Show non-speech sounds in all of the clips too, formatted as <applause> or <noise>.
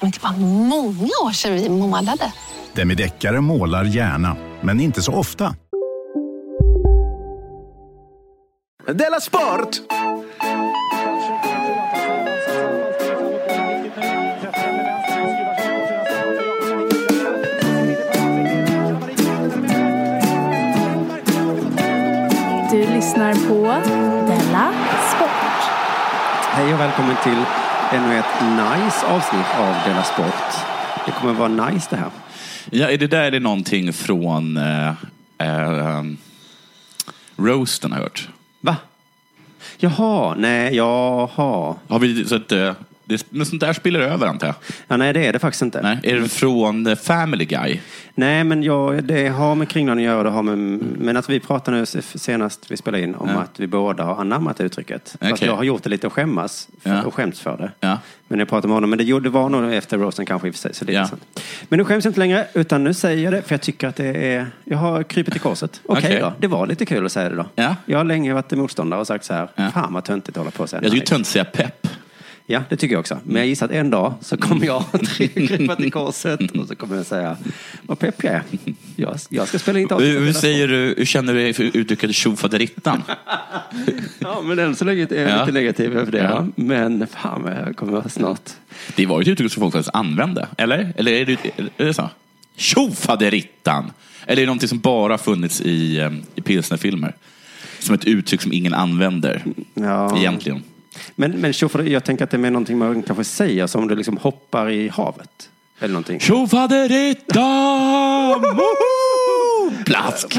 Men det var många år sedan vi målade. Demideckare målar gärna, men inte så ofta. Della Sport! Du lyssnar på Della Sport. Hej och välkommen till ännu ett nice avsnitt av Della Sport. Det kommer vara nice det här. Ja, är det där eller någonting från eh, eh, roasten har jag hört? Va? Jaha, nej, jaha. Har vi, så att, eh, det, men sånt där spiller över antar jag? Ja, nej, det är det faktiskt inte. Nej. Är det från eh, Family Guy? Nej, men jag, det har med Kringlan att göra. och Det har med, men att vi pratade nu s- senast vi spelade in om att vi båda har anammat uttrycket. Fast Okej. jag har gjort det lite och skämmas för, Ja. och skämts för det. Ja. Men jag pratade med honom. Men det, gjorde- det var nog efter Rosen kanske i och för sig. Så det är Ja. inte sant. Men nu skäms jag inte längre, utan nu säger jag det. För jag tycker att det är... Jag har krypit i korset. Okej Okej. då, det var lite kul att säga det då. Ja. Jag har länge varit motståndare och sagt så här. Ja. Fan vad töntigt att hålla på så här. Jag tycker Nej. tönt säga pepp. Ja, det tycker jag också. Men jag gissar att en dag så kommer jag att <laughs> Mm. krypa till korset och så kommer jag säga vad pepp jag är. Jag, jag ska spela in ett Hur, avsnitt. hur, säger du, hur känner du dig för <laughs> uttrycket tjofaderittan? Ja, men än så länge är jag Ja. lite negativ över det. Ja. Men fan vad jag kommer snart. Det var ju ett uttryck som folk faktiskt använde, eller? Eller är det, är det så? Tjofaderittan! Eller är det någonting som bara funnits i, eh, i pilsnerfilmer? Som ett uttryck som ingen använder, Ja. egentligen. Men, men tjofader- jag tänker att det är mer någonting man kanske säger som om du liksom hoppar i havet. Eller någonting. Tjofaderittan! Woho! Plask!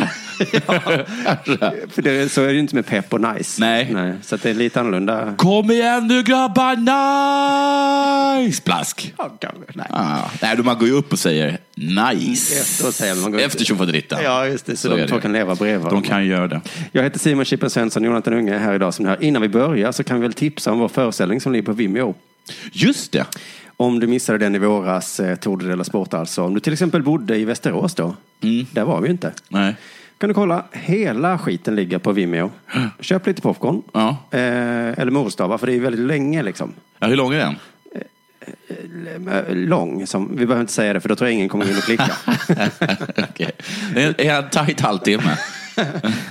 För det, så är det ju inte med pepp och nice. Nej. så att det är lite annorlunda. Kom igen nu grabbar, nice! Plask! Ja, kanske. Nej. Ah, nej, då man går ju upp och säger nice. Efteråt säger man, man går upp- Efter tjofaderittan. Ja, just det. Så, Så är de det. två kan leva bredvid De kan ju göra det. Jag heter Simon Chippen Svensson, Jonathan Unge är här idag som ni hör. Innan vi börjar så kan vi väl tipsa om vår föreställning som ligger på Vimeo. Just det. Om du missade den i våras, eh, Tour de Della Sport alltså. Om du till exempel bodde i Västerås då, Mm. där var vi ju inte. Nej. Kan du kolla, hela skiten ligger på Vimeo. Köp lite popcorn. Ja. Eh, eller morotstavar, för det är ju väldigt länge liksom. Ja, hur lång <laughs> är den? Eh, Lång, som, vi behöver inte säga det för då tror jag ingen kommer in och <laughs> klicka. Okej. Det är- är en tajt halvtimme.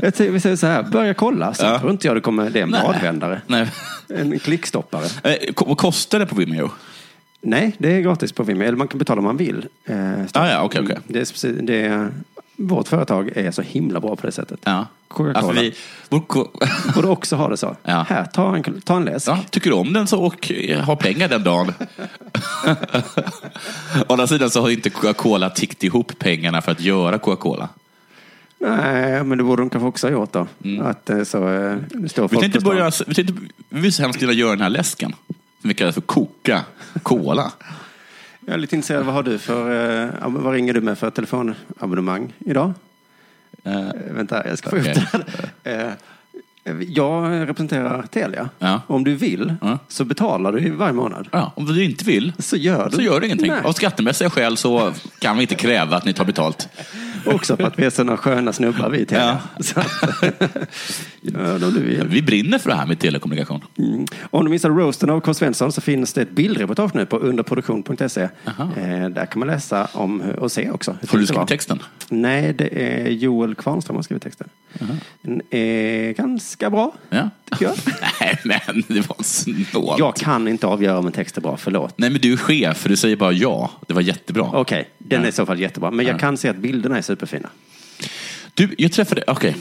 jag tycker, vi säger så här, börja kolla. Så Ja. tror inte jag det kommer, det är en Nej. badvändare. Nej. En klickstoppare. Eh, ko- Vad kostar det på Vimeo? Nej, det är gratis på Vimeo. Eller man kan betala om man vill. Eh, Ah, ja, okej, okej. Det är, speci- det är, vårt företag är så himla bra på det sättet. Ja. Ja, för Coca-Cola. vi, vår ko- <laughs> <laughs> Borde också ha det så. Ja. Här, ta en, ta en läsk. ja, tycker du om den så och eh, har pengar den dagen. <laughs> Å andra sidan så har inte Coca-Cola tickt ihop pengarna för att göra Coca-Cola. Nej, men det borde de kanske också ha gjort då. Att eh, så, eh, det står Mm. Vi folk tänkte på stan. börja, vi tänkte, vi vill så hemskt gärna göra den här läsken. Som vi kallar för Coca-Cola. Jag är lite intresserad, vad har du för, eh, ab- vad ringer du med för telefonabonnemang idag? Eh, Eh, vänta, jag ska få Okej. upp den. Eh, jag representerar Telia. Ja. Om du vill Ja. så betalar du ju varje månad. Ja, om du inte vill Så gör du så gör det ingenting. Nej. Av skattemässiga skäl så kan vi inte kräva att ni tar betalt. Också för att vi är sådana sköna snubbar vi i Telia. Ja. Så att- <laughs> Gör det om du vill. Vi brinner för det här med telekommunikation. Mm. Om du missade roasten av K. Svensson så finns det ett bildreportage nu på underproduktion.se. Eh, där kan man läsa om hur- och se också. hur Får du det skriva var. texten? Nej, det är Joel Kvarnström som har skrivit texten. Den är ganska bra, Ja. tycker jag. <laughs> Nej, men det var snålt. Jag kan inte avgöra om en text är bra, förlåt. Nej, men du är chef, för du säger bara ja. Det var jättebra. Okej, den Ja. är i så fall jättebra. Men jag kan se att bilderna är superfina. Du, jag träffade... Okej.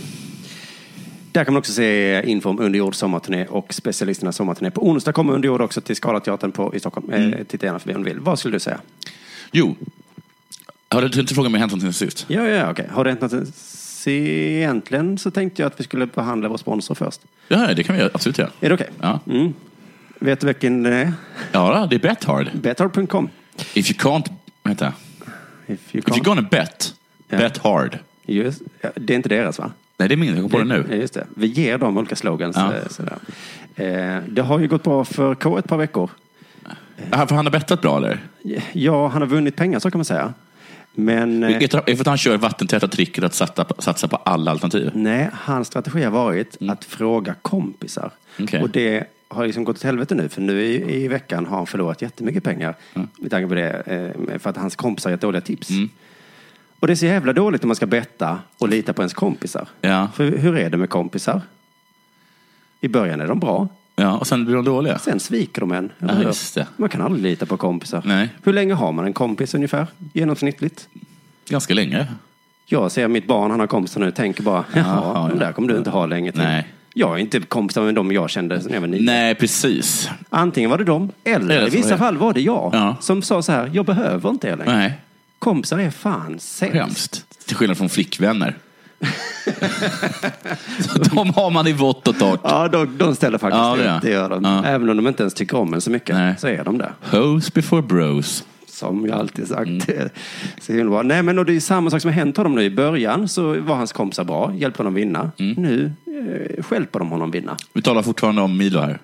Där kan man också se info om Underjord sommarturné och specialisternas sommarturné. På onsdag kommer Underjord också till Scalateatern på, i Stockholm. Mm. Eh, titta gärna förbi om du vill. Vad skulle du säga? Jo. Har du inte frågat om det har hänt någonting sen sist? Ja, ja, okej. Har det hänt något? sen- Se, Egentligen så tänkte jag att vi skulle behandla vår sponsor först. Ja, ja, det kan vi göra. absolut göra. Är det okej? Ja. Mm. Vet du vilken det är? Ja, det är bet hard. Bethard.com. If you can't... Vänta. If you If can't- you're gonna bet, Ja. bet hard. Just, ja, det är inte deras va? Nej, det är min. Jag kom på det Ja, nu. Just det. Vi ger dem olika slogans. Ja. eh, Sådär. Eh, Det har ju gått bra för K ett par veckor. Ja, för han har bettat bra, eller? Ja, han har vunnit pengar så kan man säga. Men eh, Är det är för att han kör vattentäta tricket att satsa på, satsa på alla alternativ? nej, hans strategi har varit att fråga kompisar. Mm. Okej. Och det har liksom gått åt helvete nu. För nu i, i veckan har han förlorat jättemycket pengar. Mm. Med tanke på det. eh, För att hans kompisar har gett dåliga tips. Och det är så jävla dåligt om man ska betta och lita på ens kompisar. Ja. För hur är det med kompisar? I början är de bra. Ja, och sen blir de dåliga. Sen sviker de en. Ja, just det. Man kan aldrig lita på kompisar. Nej. Hur länge har man en kompis ungefär? Genomsnittligt? Ganska länge. Jag ser mitt barn, han har kompisar nu, tänker bara, Jaha, jaha, ja. de där kommer du inte ha länge till. Nej. Jag är inte kompisar med dem jag kände när jag var nio. Nej, precis. Antingen var det dem, eller Eller i så var vissa det- fall var det jag. Ja. Som sa så här, jag behöver inte er längre. Nej, Kompisar är fan sämst. hemskt. Till skillnad från flickvänner. <laughs> Så de har man i vått och torrt. Ja, de, de ställer faktiskt Ja, det gör. upp, det gör de. Ja. Även om de inte ens tycker om en så mycket, Nej. så är de där. Hoes before bros. Som jag alltid sagt. Mm. <laughs> Så himla bra. Nej, men och det är samma sak som har hänt honom nu. I början så var hans kompisar bra, hjälpte honom vinna. Mm. Nu eh, stjälper de honom vinna. Vi talar fortfarande om Milo här.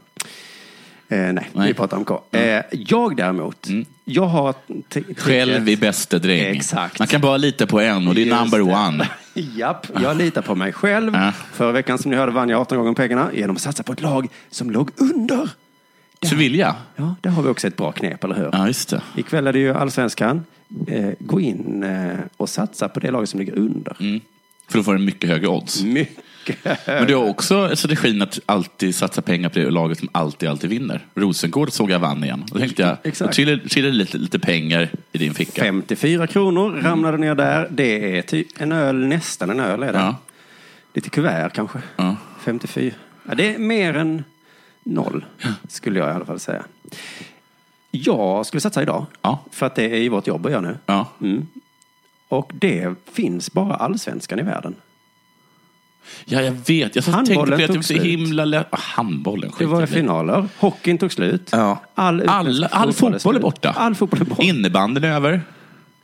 Eh, nej, vi pratar om K. Mm. Eh, jag däremot, jag har... t- t- Själv i bäste dräng. Exakt. Man kan bara lita på en och det är Just number det. one. <laughs> Japp, jag litar på mig själv. Ja. Förra veckan som ni hörde vann jag 18 gånger pengarna genom att satsa på ett lag som låg under. Sevilla. Ja, där har vi också ett bra knep, eller hur? Ja, just det. Ikväll är det ju Allsvenskan. Eh, gå in eh, och satsa på det laget som ligger under. Mm. För då får du mycket högre odds. Mycket Men du har också strategin att alltid satsa pengar på det laget som alltid, alltid vinner. Rosengård såg jag vann igen. Då tänkte jag, Exakt. då trillade, trillade lite, lite pengar i din ficka. 54 kronor ramlade ner där. Det är typ en öl, nästan en öl är det. Ja. Lite kuvert kanske. Ja. 54. Ja, det är mer än noll, skulle jag i alla fall säga. Jag skulle satsa idag, Ja. för att det är ju vårt jobb att göra nu. Ja. Och det finns bara allsvenskan i världen. ja, jag vet. Jag satt och Handbollen tänkte på det att det tog var så slut. himla lätt. Ah, handbollen, skit Det var i finaler, hockeyn tog slut. Ja. All, all, utländsk all fotboll är slut. borta. All fotboll är borta. Innebandyn är över.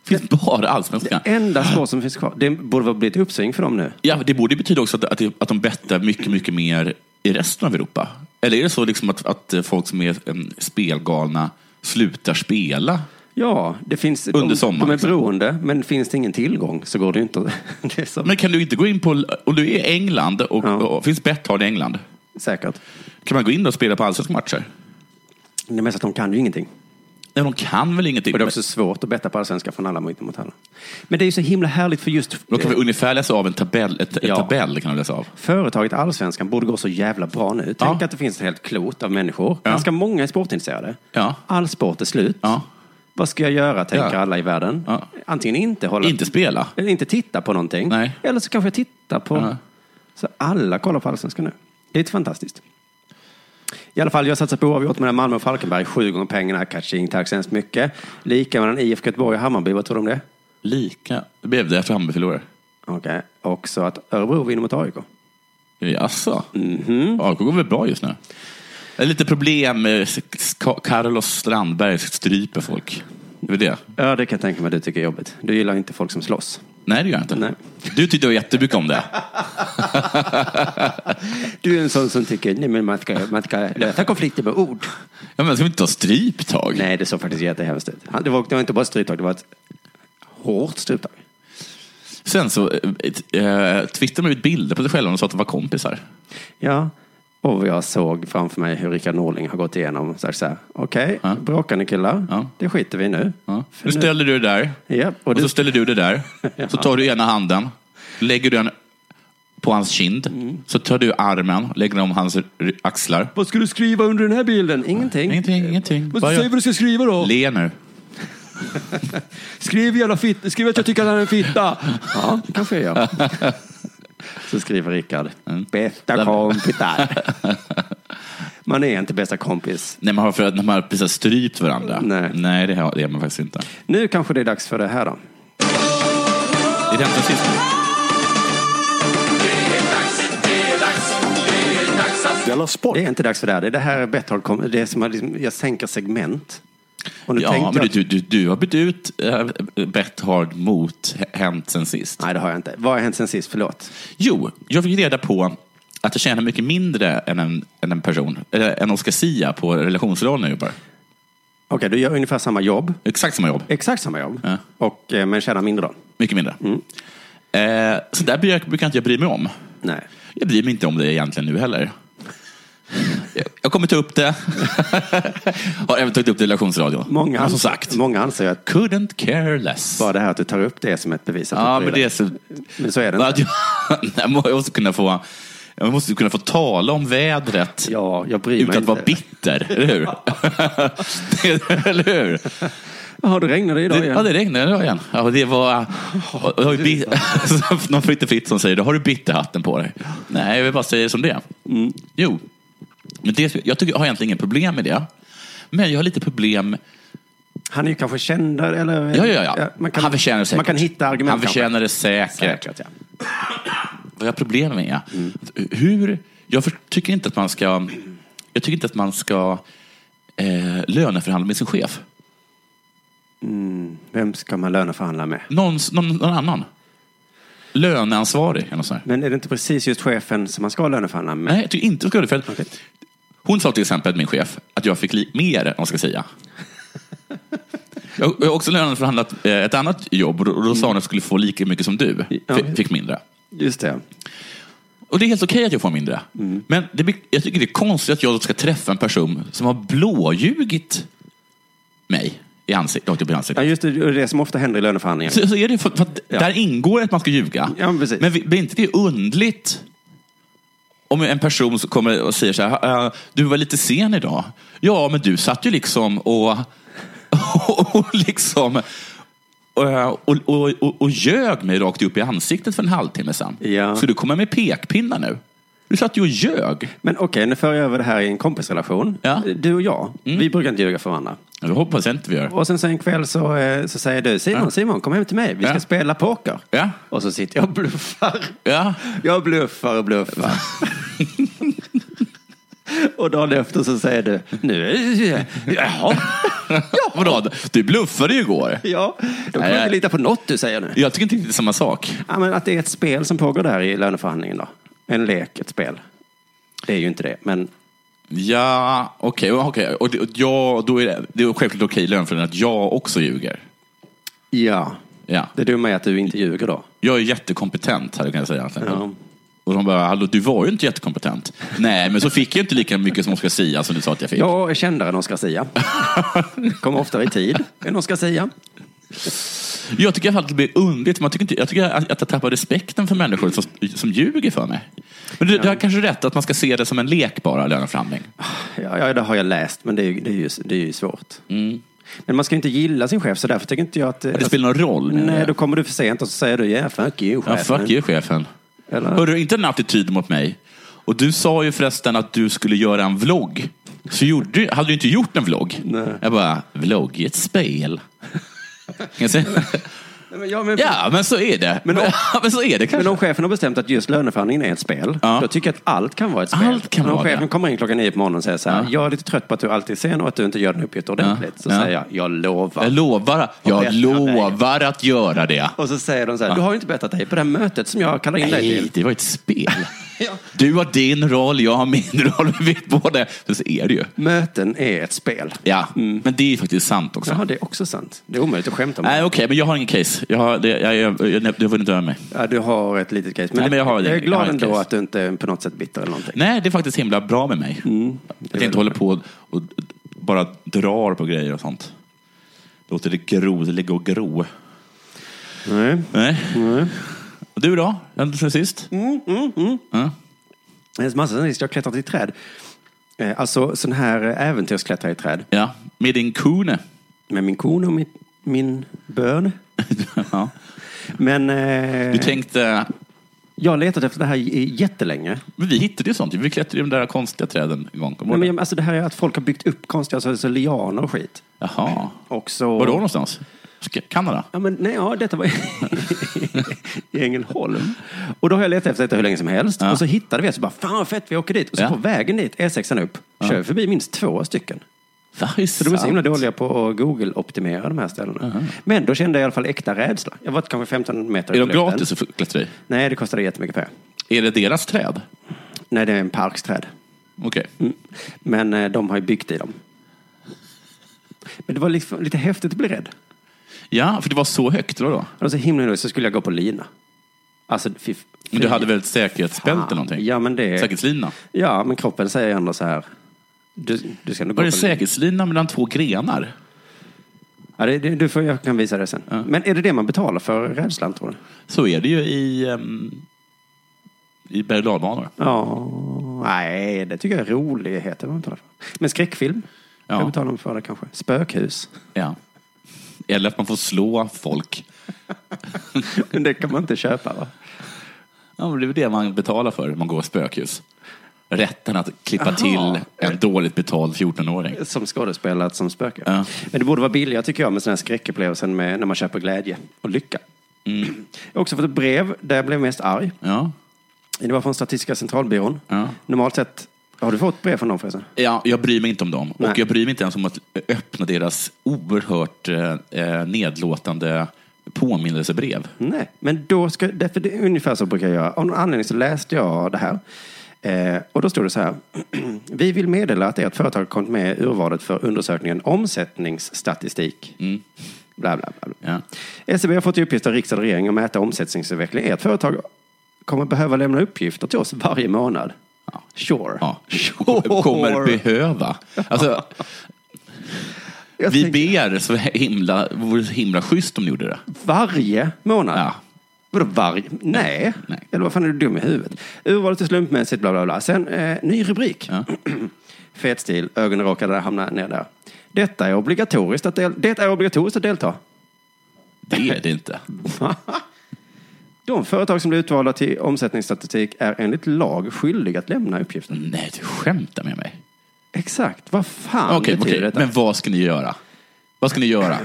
finns bara allsvenskan. Enda spår som finns kvar. Det borde väl bli ett uppsving för dem nu. Ja, det borde betyda också att, att, det- att de bettar mycket, mycket mer i resten av Europa. Eller är det så liksom att, att folk som är em, spelgalna slutar spela? Ja, det finns... Under de, sommaren, De är liksom. beroende, men finns det ingen tillgång så går det ju inte. <laughs> Det är så Men kan du inte gå in på, om du är i England och, Ja. och finns Betthard i England, säkert. kan man gå in och spela på allsvenska matcher? Det är mest att de kan ju ingenting. Nej, de kan väl ingenting? Och det är också svårt att betta på allsvenska från alla mot mot alla. Men det är ju så himla härligt för just Men De kan eh, väl ungefär läsa av en tabell? Ett, Ja. en tabell kan de läsa av. företaget Allsvenskan borde gå så jävla bra nu. Tänk Ja. att det finns ett helt klot av människor. Ja. Ganska många är sportintresserade. Ja. All sport är slut. Ja. Vad ska jag göra, tänker Ja. alla i världen. Ja. Antingen inte hålla... Inte spela. Eller inte titta på någonting. Nej. Eller så kanske jag tittar på... Ja. Så alla kollar på Allsvenskan nu. Det är lite fantastiskt. I alla fall, jag satsar på oavgjort mellan Malmö och Falkenberg. Sju gånger pengarna, catching, tack så hemskt mycket. Lika mellan IFK Göteborg och Hammarby, vad tror du om det? Lika. Det blev det efter Hammarby förlorade. Okej, och så att Örebro vinner mot AIK. Jaså? Mhm. AIK går väl bra just nu? Det är lite problem med Ka- Carlos Strandberg stryper folk. Det är väl det? Ja, det kan jag tänka mig att du tycker är jobbigt. Du gillar inte folk som slåss. Nej, det gör jag inte. Nej. Du tyckte jättemycket om det. Du är en sån som tycker, nej men man ska, man ska lösa konflikter med ord. Ja, men ska vi inte ta stryptag? Nej, det såg faktiskt jättehemskt ut. Han- Det var, det var inte bara stryptag, det var ett hårt stryptag. Sen så eh, eh, twittrade de ut bilder på sig själva och de sa att de var kompisar. Ja, och jag såg framför mig hur Rickard Norling har gått igenom. Så här, så här, Okej, Ja. bråkar ni killar? Ja. Det skiter vi i nu. Ja. För Nu ställer du det där. Ja, och Och du- så ställer du det <laughs> där. Så tar du ena handen. Lägger du den på hans kind. Så tar du armen. Lägger den om hans r- axlar. Mm. Vad ska du skriva under den här bilden? Ingenting. Ingenting, ingenting. Men Bara- säg vad du ska skriva då. Le nu. <laughs> Skriv jävla fitta. Skriv att jag tycker att han är en fitta. ja, det kanske jag gör. Så skriver Rickard. Mm. Bästa <laughs> kompisar. Man är inte bästa kompis. Nej, man har, för, när man har precis strypt varandra. Nej. Nej det, har, det är man faktiskt inte. Nu kanske det är dags för det här då. Det är den som sist. Della Sport. Det är inte dags för det här. Det är det här är bättre att komma- Det är som att liksom, jag sänker segment. Och nu Ja, tänkte men jag- du, du, du har bytt ut äh, Bett Hard mot H- Hänt sen sist. Nej, det har jag inte. Vad har hänt sen sist? Förlåt. Jo, jag fick reda på att jag tjänar mycket mindre än en, än en person, eller en Oscar Sia på relationsrollen jag jobbar. Okej, du gör ungefär samma jobb. Exakt samma jobb, Exakt samma jobb. Ja. Och, eh, men tjänar mindre då. mycket mindre. Mm. Eh, så där brukar brukar inte jag bry mig om. Nej. Jag bryr mig inte om det egentligen nu heller. Jag- Jag kommer ta upp det. <laughs> har även tagit upp det i relationsradion. Många, Men som anser- sagt, många anser ju att couldn't care less. bara det här att du tar upp det är som ett bevis. Att Ja, du men inte det är bryr så... dig. men så är det Att inte. jag, <laughs> jag måste kunna få... Jag måste kunna få tala om vädret Ja, jag bryr mig utan att inte. vara bitter, eller hur? <laughs> Det- eller hur? Jaha, då regnar det idag Det, ja, igen. det regnade idag igen. Ja, och det var... Och, och, bi- <laughs> någon Fritte Fritt som säger, då har du bitterhatten på dig. Nej, jag vill bara säga det som det är. Mm. Jo, men det, jag, tycker, jag har egentligen inga problem med det. Men jag har lite problem Han är ju kanske kändare eller... Ja, ja, ja. man kan, han förtjänar det säkert. Man kan hitta argument Han förtjänar det säkert. kanske. Säkert, ja. Vad jag har problem med är att hur... Jag för- tycker inte att man ska... Jag tycker inte att man ska eh, löneförhandla med sin chef. Vem ska man löneförhandla med? Någon, någon, någon annan. Löneansvarig eller något sånt. där. Men är det inte precis just chefen som man ska löneförhandla med? Nej, jag tycker inte du ska göra det. För att Hon sa till exempel, min chef, att jag fick li- mer än vad ska säga. Jag jag har också löneförhandlat eh, ett annat jobb och då, och då sa hon att jag skulle få lika mycket som du. Ja. F- Fick mindre. Just det. Och det är helt okej att jag får mindre. Men det, blir- jag tycker det är konstigt att jag ska träffa en person som har blåljugit mig i ansiktet. Rakt upp i Ja, ansiktet. just det. Det är det som ofta händer i löneförhandlingar. Så, så är det för, för att Ja. där ingår att man ska ljuga. Ja, men precis. men vi- blir inte det undligt om en person som kommer och säger så här, "Eh, du var lite sen idag. Ja, men du satt ju liksom och, <laughs> och, och liksom eh, och, och, och, och ljög mig rakt upp i ansiktet för en halvtimme sedan. Ja. Så du kommer med pekpinnar nu. Du satt ju och ljög. Men okej, nu för jag över det här i en kompisrelation. Ja. Mm. Du och jag, vi brukar inte ljuga för varandra. Jag hoppas jag inte vi gör. Och sen så en kväll så, eh, så säger du Simon, Ja. Simon kom hem till mig, vi ska Ja. spela poker. Ja. Och så sitter jag och bluffar. Ja. Jag bluffar och bluffar. <laughs> och dagen efter så säger du, nu, Jaha. <laughs> ja, vadå? Du bluffade ju igår. ja, då kan Nej, jag inte jag- lita på något du säger nu. Jag tycker inte riktigt det är samma sak. Ja, men att det är ett spel som pågår där i löneförhandlingen då. En lek, ett spel. Det är ju inte det, men Ja, okej. okej. Och det, och jag, då är det, det är självklart okej lön för den att jag också ljuger. ja. Ja. Det dumma är att du inte ljuger då. Jag är jättekompetent, hade jag kunnat säga. egentligen. Ja. Och de bara, hallå, du var ju inte jättekompetent. Nej, men så fick jag inte lika mycket som Oscar Sia som du sa att jag fick. Jag är kändare än Oscar <laughs> Sia. Kommer oftare i tid än Oscar Sia. Jag tycker i alla fall att det blir underligt. Man tycker inte, jag tycker att att jag tappar respekten för människor som, som ljuger för mig. Men du, du har kanske rätt att man ska se det som en lek bara, löneförhandling. Ja, ja, det har jag läst, men det är ju, det är ju, det är ju svårt. Men man ska ju inte gilla sin chef, så därför tycker inte jag att... Det spelar någon roll. menar Nej, jag. då kommer du för sent och så säger du yeah, fuck you, Ja, chefen. fuck you chefen. Eller? Hörde du inte den attityd mot mig? Och du sa ju förresten att du skulle göra en vlogg. Så gjorde, du- hade du inte gjort en vlogg. Nej. Jag bara, vlogg är ett spel. Kan jag säga? <laughs> Nej, men, ja, men, ja, men så är det. Men om- <laughs> men så är det men kanske. om chefen har bestämt att just löneförhandlingen är ett spel, Ja. då tycker jag att allt kan vara ett spel. Allt kan Men om vara det. chefen kommer in klockan nio på morgonen och säger så här, Ja. jag är lite trött på att du alltid är sen och att du inte gör din uppgift ordentligt. Så Ja. säger jag, jag lovar. jag lovar, Och jag bättra lovar att göra det. och så säger de så här, du har ju inte bättat dig på det här mötet som jag kallar in dig Nej, till. det var ett spel. <laughs> Du har din roll, jag har min <laughs> roll. Vi vet båda. Men Så är det ju. Möten är ett spel. Ja, men det är faktiskt sant också. Mm. Jaha, det är också sant. Det är omöjligt att skämta om. Nej, okej, men jag har ingen case. Jag har, det, jag, jag, jag, du har vunnit över mig. Ja, du har ett litet case. Men, Nej, men jag har det. jag är Jag glad har ett ändå case. att du inte är på något sätt bitter eller någonting. Nej, det är faktiskt himla bra med mig. Mm, att jag inte håller på och, och bara drar på grejer och sånt. Låter det gro, det ligger och gro. Nej. Mm, Nej. Och Du då? Sen sen sist? Ja. Det är en massa sen sist jag har klättrat i träd. Eh, Alltså sån här äventyrsklättra i träd. Ja, med <laughs> din kone. Med min kon och min, min bön. ja. Men... eh, Du tänkte, Jag har letat efter det här i- i jättelänge. Men vi hittade ju sånt. Vi klättrade i de där konstiga träden en gång. Nej, men, jag- alltså, det här är att folk har byggt upp konstiga alltså, alltså, lianer och skit. Jaha. Och så... Var då någonstans? Ska- Kanada? Ja, men, nej, ja, detta var i <laughs> i Ängelholm. Och då har jag letat efter detta hur länge som helst. Ja. Och så hittade vi det. Så bara, fan vad fett, vi åker dit. Och så Ja. på vägen dit, E6 upp, kör vi förbi minst två stycken. Va, är Så de är så himla sant? dåliga på att Google-optimera de här ställena. Men då kände jag i alla fall äkta rädsla. Jag var kanske 15 meter Är de upp i luften. gratis att klättra i? Nej, det kostade jättemycket pengar. Är det deras träd? Nej, det är en parksträd. Okej. Mm. Men eh, de har ju byggt i dem. Men det var liksom lite häftigt att bli rädd. Ja, för det var så högt då. då. Och då så himla nervös så skulle jag gå på lina. Alltså, fy, Men du hade väl ett säkerhetsbälte Fan. eller någonting? Ja, men det- Säkerhetslina? Ja, men kroppen säger ändå så här. Du, du ska nog gå Var det på- säkerhetslina mellan två grenar? Ja, det, det, du får, jag kan visa det sen. Ja. Men är det det man betalar för rädslan, tror du? Så är det ju i, ehm, i berg och dalbanor. Ja, nej, det tycker jag är roligheter man betalar för. Men skräckfilm? Ja. Jag betalar man för det kanske. Spökhus? <laughs> Ja. Eller att man får slå folk. Men det kan man inte köpa, va? Ja, men det är väl det man betalar för när man går spökhus. Rätten att klippa Aha. till en dåligt betald 14-åring. Som skådespelare, som spöke. Ja. Men det borde vara billigare, tycker jag, med sådana här skräckupplevelsen med, när man köper glädje och lycka. Mm. Jag har också fått ett brev där jag blev mest arg. Ja. Det var från Statistiska centralbyrån. Ja. Normalt sett, har du fått brev från dem förresten? Ja, jag bryr mig inte om dem. Nej. Och jag bryr mig inte ens om att öppna deras oerhört eh, eh, nedlåtande påminnelsebrev. Nej, men då ska, därför det är ungefär så brukar jag göra. Av någon anledning så läste jag det här. Eh, och då stod det så här. <clears throat> Vi vill meddela att ert företag kommit med i urvalet för undersökningen omsättningsstatistik. Bla, bla, bla. bla. Mm. Ja. SCB har fått i uppgift av riksdag och regering att mäta omsättningsutveckling. Ert företag kommer behöva lämna uppgifter till oss varje månad. Sure. Ja. <laughs> Kommer behöva. Alltså, <laughs> Jag vi tänker, ber så himla, vore så himla schysst om ni gjorde det. varje månad? Ja. Vadå varje? Nej. Nej. Eller vad fan är du dum i huvudet? Urvalet är slumpmässigt, bla bla bla. Sen eh, ny rubrik. Ja. <clears throat> Fet stil, ögonen råkade hamna ner där. Detta är obligatoriskt att, del- det är obligatoriskt att delta. Det är det inte. De företag som blir utvalda till omsättningsstatistik är enligt lag skyldiga att lämna uppgiften. Nej, du skämtar med mig. Exakt, vad fan Okej, betyder okej. detta? men vad ska ni göra? Vad ska ni göra?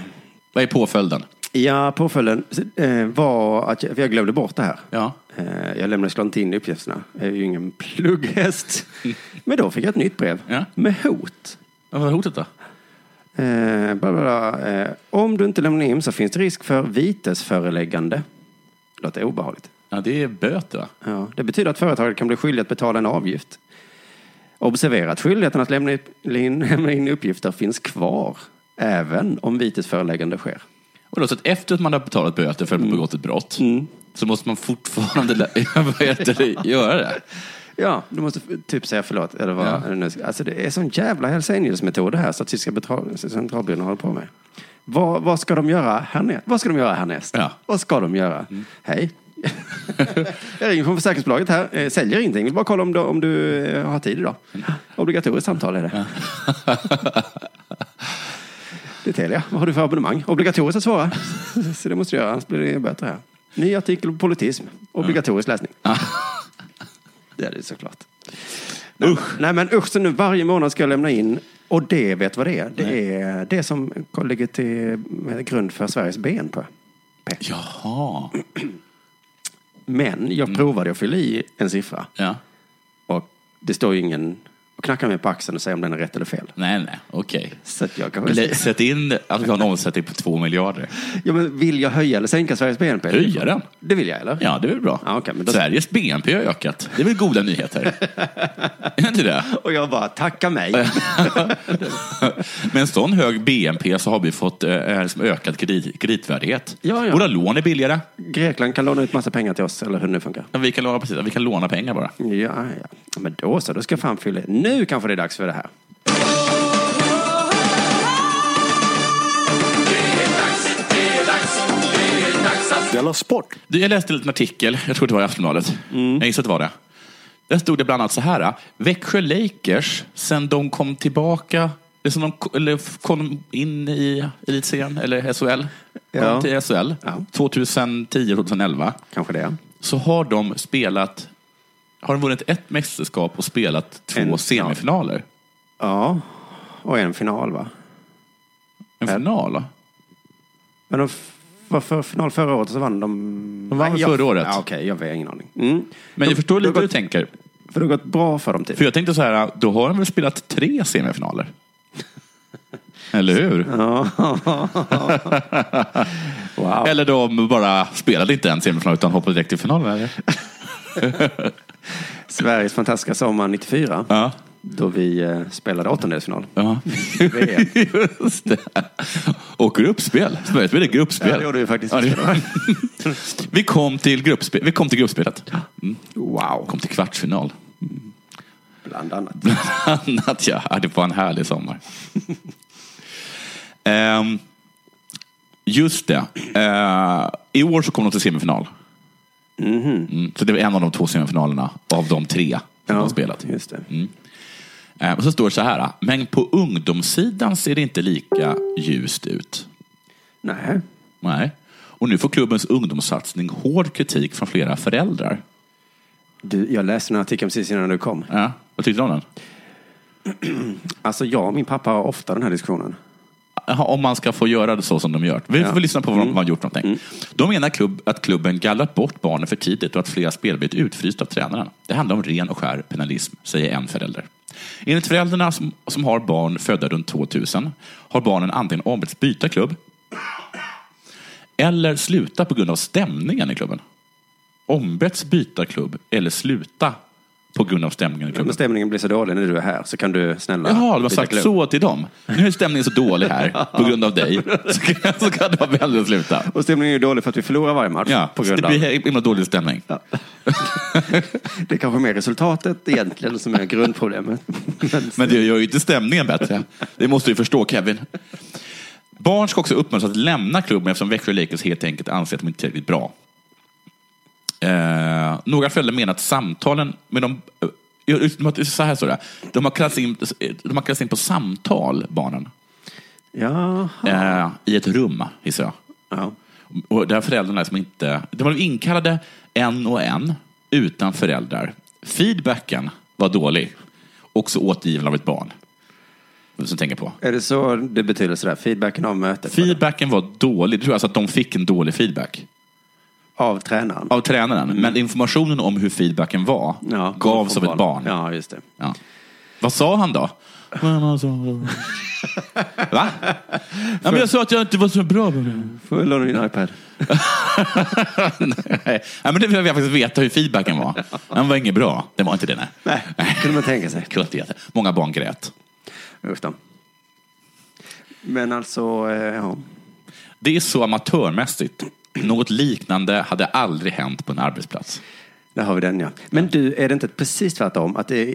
Vad är påföljden? Ja, påföljden eh, var att jag, för jag glömde bort det här. Ja. Eh, jag lämnade såklart inte in uppgifterna. Jag är ju ingen plugghäst. Men då fick jag ett nytt brev Ja. med hot. Vad var hotet då? Eh, bla, bla, bla. Eh, om du inte lämnar in så finns det risk för vitesföreläggande. Låter obehagligt. Ja, det är böter, va? Ja, det betyder att företaget kan bli skyldigt att betala en avgift. Observera att skyldigheten att lämna in, lämna in uppgifter finns kvar även om vitesföreläggande sker. Och då, så att efter att man har betalat böter för att Mm. man begått ett brott så måste man fortfarande lä- <laughs> vad heter det, <laughs> göra det. Ja, du måste f- typ säga förlåt. Eller vad, Ja. eller nu ska- alltså det är sån jävla Hells Angels-metod det här Statistiska betal- centralbyrån håller på med. Vad, vad ska de göra härnäst? Vad ska de göra härnäst? Ja. Mm. Vad ska de göra? Hej. <laughs> jag ringer från försäkringsbolaget här. Eh, Säljer ingenting. Vill bara kolla om du, om du eh, har tid idag. Obligatoriskt samtal är det. Det är Telia. Vad har du för abonnemang? Obligatoriskt att svara. Så det måste du göra, annars blir det bättre här. Ny artikel på politism. Obligatorisk läsning. <laughs> Det är det såklart. Usch. Nej men usch, så nu varje månad ska jag lämna in. Och det, vet vad det är? Det är det som ligger till grund för Sveriges BNP. Jaha. Men jag provade att fylla i en siffra. Ja. Och det står ju ingen och knackar mig på axeln och säger om den är rätt eller fel. Nej, nej, okej. Så att jag kanske... Okay. Sätt in att vi har en omsättning på två miljarder. Ja, men vill jag höja eller sänka Sveriges BNP? Höja den. Det vill jag, eller? Ja, det är väl bra. Ja, okej, men då- Sveriges BNP har ökat. Det är väl goda nyheter? är det inte det? Och jag bara, tacka mig. Med en sån hög BNP så har vi fått eh, liksom ökad kredit, kreditvärdighet. Ja, ja. Våra lån är billigare. Grekland kan låna ut massa pengar till oss, eller hur det nu funkar. Ja, Vi kan, låna, precis, vi kan låna pengar bara. Ja, ja. Men då så, då ska jag fan fylla i. Nu kanske det är dags för det här. Della Sport! Du, Jag läste en liten artikel, jag tror det var i Aftonbladet. Mm. Jag gissar att det var det. Där stod det bland annat så här. eh, Växjö Lakers, sen de kom tillbaka, det som de ko- eller kom in i elitserien, eller SHL, kom Ja. till SHL, Ja. 2010-2011. Kanske det. så har de spelat, har de vunnit ett mästerskap och spelat två En final. semifinaler. Ja, och en final va? En Ja. final, va? Men de f- var för final förra året och så vann de... De vann Nej, väl jag- förra året? Ja, Okej, jag har ingen aning. Mm. Men De- jag förstår lite de- hur du tänker. För det har gått bra för dem typ. För jag tänkte så här, då har de väl spelat tre semifinaler? <laughs> Eller hur? Wow. Eller de bara spelade inte en semifinal utan hoppade direkt till finalen. Eller? Sveriges fantastiska sommar 94. Ja. Då vi eh, spelade åttondelsfinal. <laughs> ja. Just det. Och gruppspel. Sverige spelade gruppspel. Ja, det gjorde vi faktiskt. Ja, det gjorde <laughs> vi. vi, kom till gruppspel. vi kom till gruppspelet. Mm. Wow. Kom till kvartsfinal. Bland annat. annat ja. Ja, Det var en härlig sommar. <laughs> Ehm, just det. Eh, I år så kom de till semifinal. Mm, så det var en av de två semifinalerna av de tre som de har spelat. Mm. Just det. Eh, och så står det så här. Men på ungdomssidan ser det inte lika ljust ut. Nej. Nej. Och nu får klubbens ungdomssatsning hård kritik från flera föräldrar. Du, jag läste en artikel precis innan du kom. Ja, vad tyckte du om den? Alltså jag och min pappa har ofta den här diskussionen. Jaha, om man ska få göra det så som de gör. Vi får väl lyssna på vad de har gjort någonting. De menar klubb, att klubben gallrat bort barnen för tidigt och att flera spelare blivit utfrysta av tränaren. Det handlar om ren och skär penalism, säger en förälder. Enligt föräldrarna som, som har barn födda runt 2000 har barnen antingen ombetts byta klubb eller sluta på grund av stämningen i klubben. Ombetts byta klubb eller sluta på grund av stämningen i Om klubben. stämningen blir så dålig när du är här så kan du snälla... Jaha, det var byta sagt klubb. så till dem. Nu är stämningen så dålig här på grund <laughs> av dig. Så kan, så kan det vara väldigt sluta. Och stämningen är ju dålig för att vi förlorar varje match. Ja, på grund av... Det blir himla dålig stämning. Det är kanske mer resultatet egentligen som är <laughs> grundproblemet. Men det gör ju inte stämningen bättre. Det måste du förstå Kevin. Barn ska också uppmuntras att lämna klubben eftersom Växjö Lakers helt enkelt anser att de inte är tillräckligt bra. Eh, några föräldrar menar att samtalen med de... eh, just- de har- Så här står det. De har kallats in, de har kallats in på samtal, barnen. Ja. Eh, I ett rum, gissar jag. ja. Och där föräldrarna som inte... De var inkallade en och en, utan föräldrar. Feedbacken var dålig. Också återgiven av ett barn. Som tänker på. Är det så det betyder sådär? Feedbacken av mötet? Feedbacken var dålig. Det tror jag alltså att de fick en dålig feedback. Av tränaren? Av tränaren. Men informationen om hur feedbacken var Mm. Ja, gavs av från ett barn. Ja, just det. Ja. Vad sa han då? Va? alltså- Ja, men jag sa att jag inte var så bra. Får jag låna din iPad? <laughs> Nej, men det vill jag faktiskt veta hur feedbacken var. Den var inget bra. Den var inte det, nej. Nej, kunde man tänka sig. Kunde inte. Många barn grät. Usch då. Men alltså, eh, ja. Det är så amatörmässigt. Något liknande hade aldrig hänt på en arbetsplats. Där har vi den ja. Men du, är det inte precis tvärtom? Att det är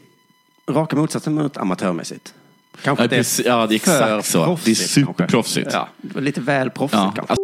raka motsatsen mot amatörmässigt? Kanske Ja, att det precis. Ja, det är exakt för så. Det är proffsigt, superproffsigt. kanske. Ja, det var lite väl proffsigt Ja. kanske. Alltså,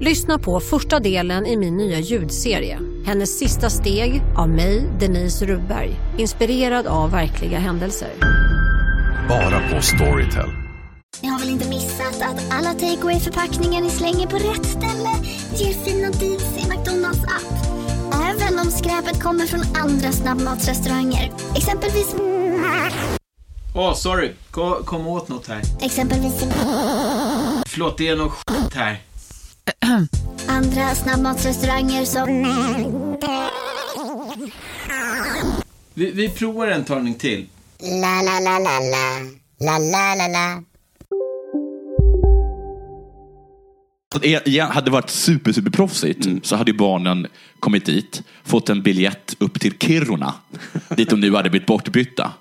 Lyssna på första delen i min nya ljudserie. Hennes sista steg av mig, Denise Rubberg. Inspirerad av verkliga händelser. Bara på Storytel. Ni har väl inte missat att alla takeaway förpackningar ni slänger på rätt ställe ger fina deals i McDonalds app. Även om skräpet kommer från andra snabbmatsrestauranger. Exempelvis... Åh, sorry. Kom, kom åt något här. Exempelvis... Förlåt, det är något skit här. Andra snabbmatsrestauranger som... Vi, vi provar en talning till. Så e- igen, Hade det varit super, super proffsigt Mm. så hade ju barnen kommit dit, fått en biljett upp till Kiruna, dit de nu hade blivit bortbytta.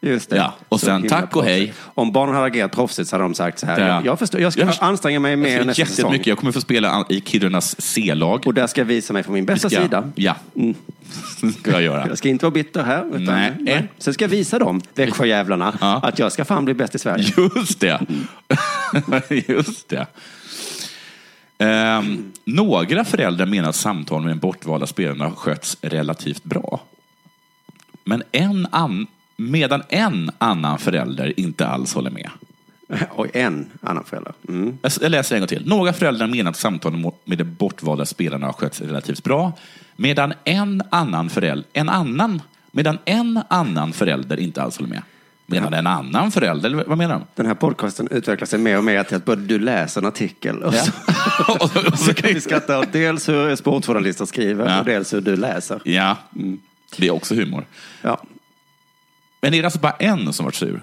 Just det. Ja, och Så sen himla tack och proffsigt. hej. Om barnen hade agerat proffsigt så hade de sagt så här. Jag, jag, förstår, jag ska förstår- anstränga mig jag mer ska nästa säsong. jättemycket. Jag kommer få spela an- i Kirunas C-lag. Och där ska jag visa mig från min bästa Ja, sida. Ja, Mm. <laughs> det ska jag göra. Jag ska inte vara bitter här. Utan, Nej. Sen ska jag visa dem, Växjöjävlarna, att jag ska fan bli bäst i Sverige. Just det. <laughs> Just det. Ehm, några föräldrar menar att samtal med den bortvalda spelaren har skötts relativt bra. Men en an- medan en annan förälder inte alls håller med. <laughs> Och en annan förälder. Mm. Jag s- Jag läser en gång till. Några föräldrar menar att samtalen mo- med de bortvalda spelarna har skötts relativt bra. Medan en annan förälder, en annan, medan en annan förälder inte alls håller med. Medan en annan förälder, eller vad menar de? Den här podcasten utvecklar sig mer och mer till att både du läser en artikel <laughs> och så, och <laughs> så kan vi skratta åt dels hur sportjournalister skriver och dels hur du läser. Ja, mm. det är också humor. Ja. Men är det alltså bara en som varit sur?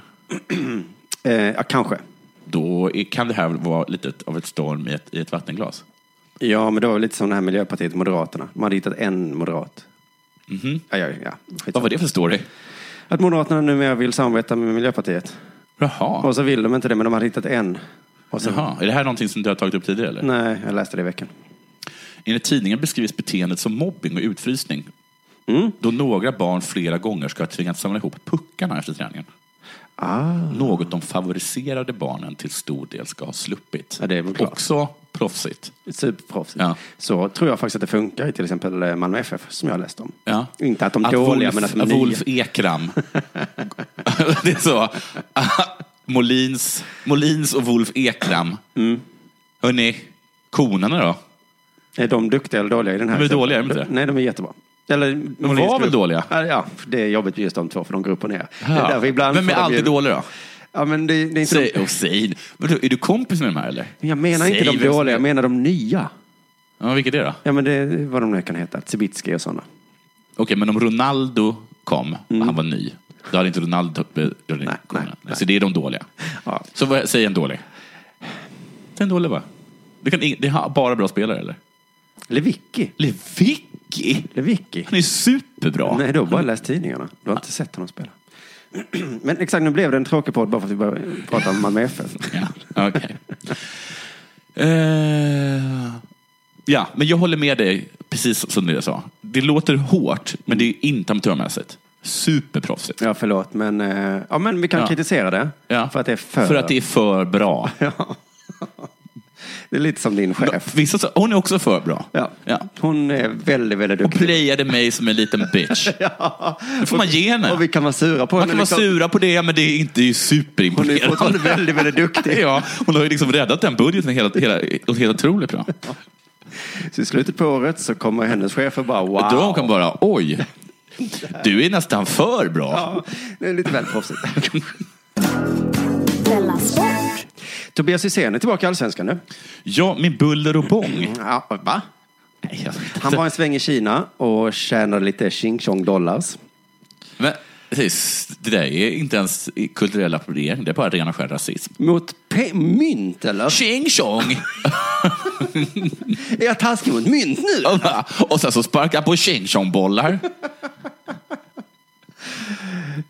Eh, ja, kanske. Då är- kan det här vara lite av ett storm i ett, i ett vattenglas. Ja, men det var väl lite som det här Miljöpartiet och Moderaterna. Man hade hittat en moderat. Ja, ja, ja. Vad var det för story? Att Moderaterna numera vill samarbeta med Miljöpartiet. Jaha. Och så vill de inte det, men de har hittat en. Och så, Jaha. Är det här någonting som du har tagit upp tidigare? Eller? Nej, jag läste det i veckan. Enligt tidningen beskrivs beteendet som mobbing och utfrysning. Mm. Då några barn flera gånger ska ha tvingats samla ihop puckarna efter träningen. Ah. Något de favoriserade barnen till stor del ska ha sluppit. Ja, det är väl klart. också proffsigt. Superproffsigt. Ja. Så tror jag faktiskt att det funkar i till exempel Malmö FF, som jag läste om. Ja. Inte att de är dåliga, Wolf, men att de är nya. Wolf Ekram. <laughs> det är så. Molins, Molins och Wolf Ekram. Mm. Hörni, konarna då? Är de duktiga eller dåliga i den här? De är dåliga, är de inte det? Nej, de är jättebra. Eller, de var väl dåliga? Ja, det är jobbigt med just de två, för de går upp och ner. Det är Ja. därför ibland Vem är får de alltid ju- dålig då? Ja, men det, det är inte Säg, de... oh, säg. Vadå, är du kompis med de här eller? Jag menar Säg inte de vem som dåliga, är- jag menar de nya. Ja, vilket är det då? Ja, men det är vad de nu kan heta. Cibicki och sådana. Okej, men om Ronaldo kom och han var ny, då hade inte Ronaldo eh, tagit med Mm. nej, kungarna. nej. Så det är de dåliga. Ja. Så vad, säg en dålig. Säg en dålig va? Du kan, ing- det har bara bra spelare eller? Levicki. Levicki? Levicki. Han är ju superbra. Nej, du har bara läst tidningarna. Du har inte sett honom spela. <clears throat> Men exakt, nu blev det en tråkig podd bara för att vi började prata om Malmö FF. Ja, okej. Eh, ja, men jag håller med dig precis som du sa. Det låter hårt, men det är inte amatörmässigt. Superproffsigt. Ja, förlåt, men, eh, ja, men vi kan Ja. kritisera det. Ja. För att det är för... att det är <laughs> för bra. Det är lite som din chef. Vissa, sa- hon är också för bra. Ja. Hon är väldigt, väldigt Och duktig. playade mig som en liten bitch. <laughs> Ja. Det får man ge henne. Och vi kan vara sura på Man henne. kan vara liksom. sura på det, men det är inte det är Hon är superimponerande. fortfarande väldigt, väldigt duktig. <laughs> ja, hon har ju liksom räddat den budgeten helt, hela, helt otroligt bra. Så i slutet på året så kommer hennes chefer bara wow. Då kan bara, oj, du är nästan för bra. Ja, det är lite väl <laughs> proffsigt. Della Sport. Tobias Hysén är tillbaka i Allsvenskan nu. Ja, med buller och bång. Mm. Ja, va? Nej, jag vet Han inte. var en sväng i Kina och tjänade lite ching chong dollars. Men, precis, det där är inte ens kulturell appropriering, det är bara ren och skär rasism. Mot pe- mynt eller? Tjing tjong! Är jag taskig mot mynt nu? Och bara- <laughs> och sen så sparkar han på tjing tjong bollar.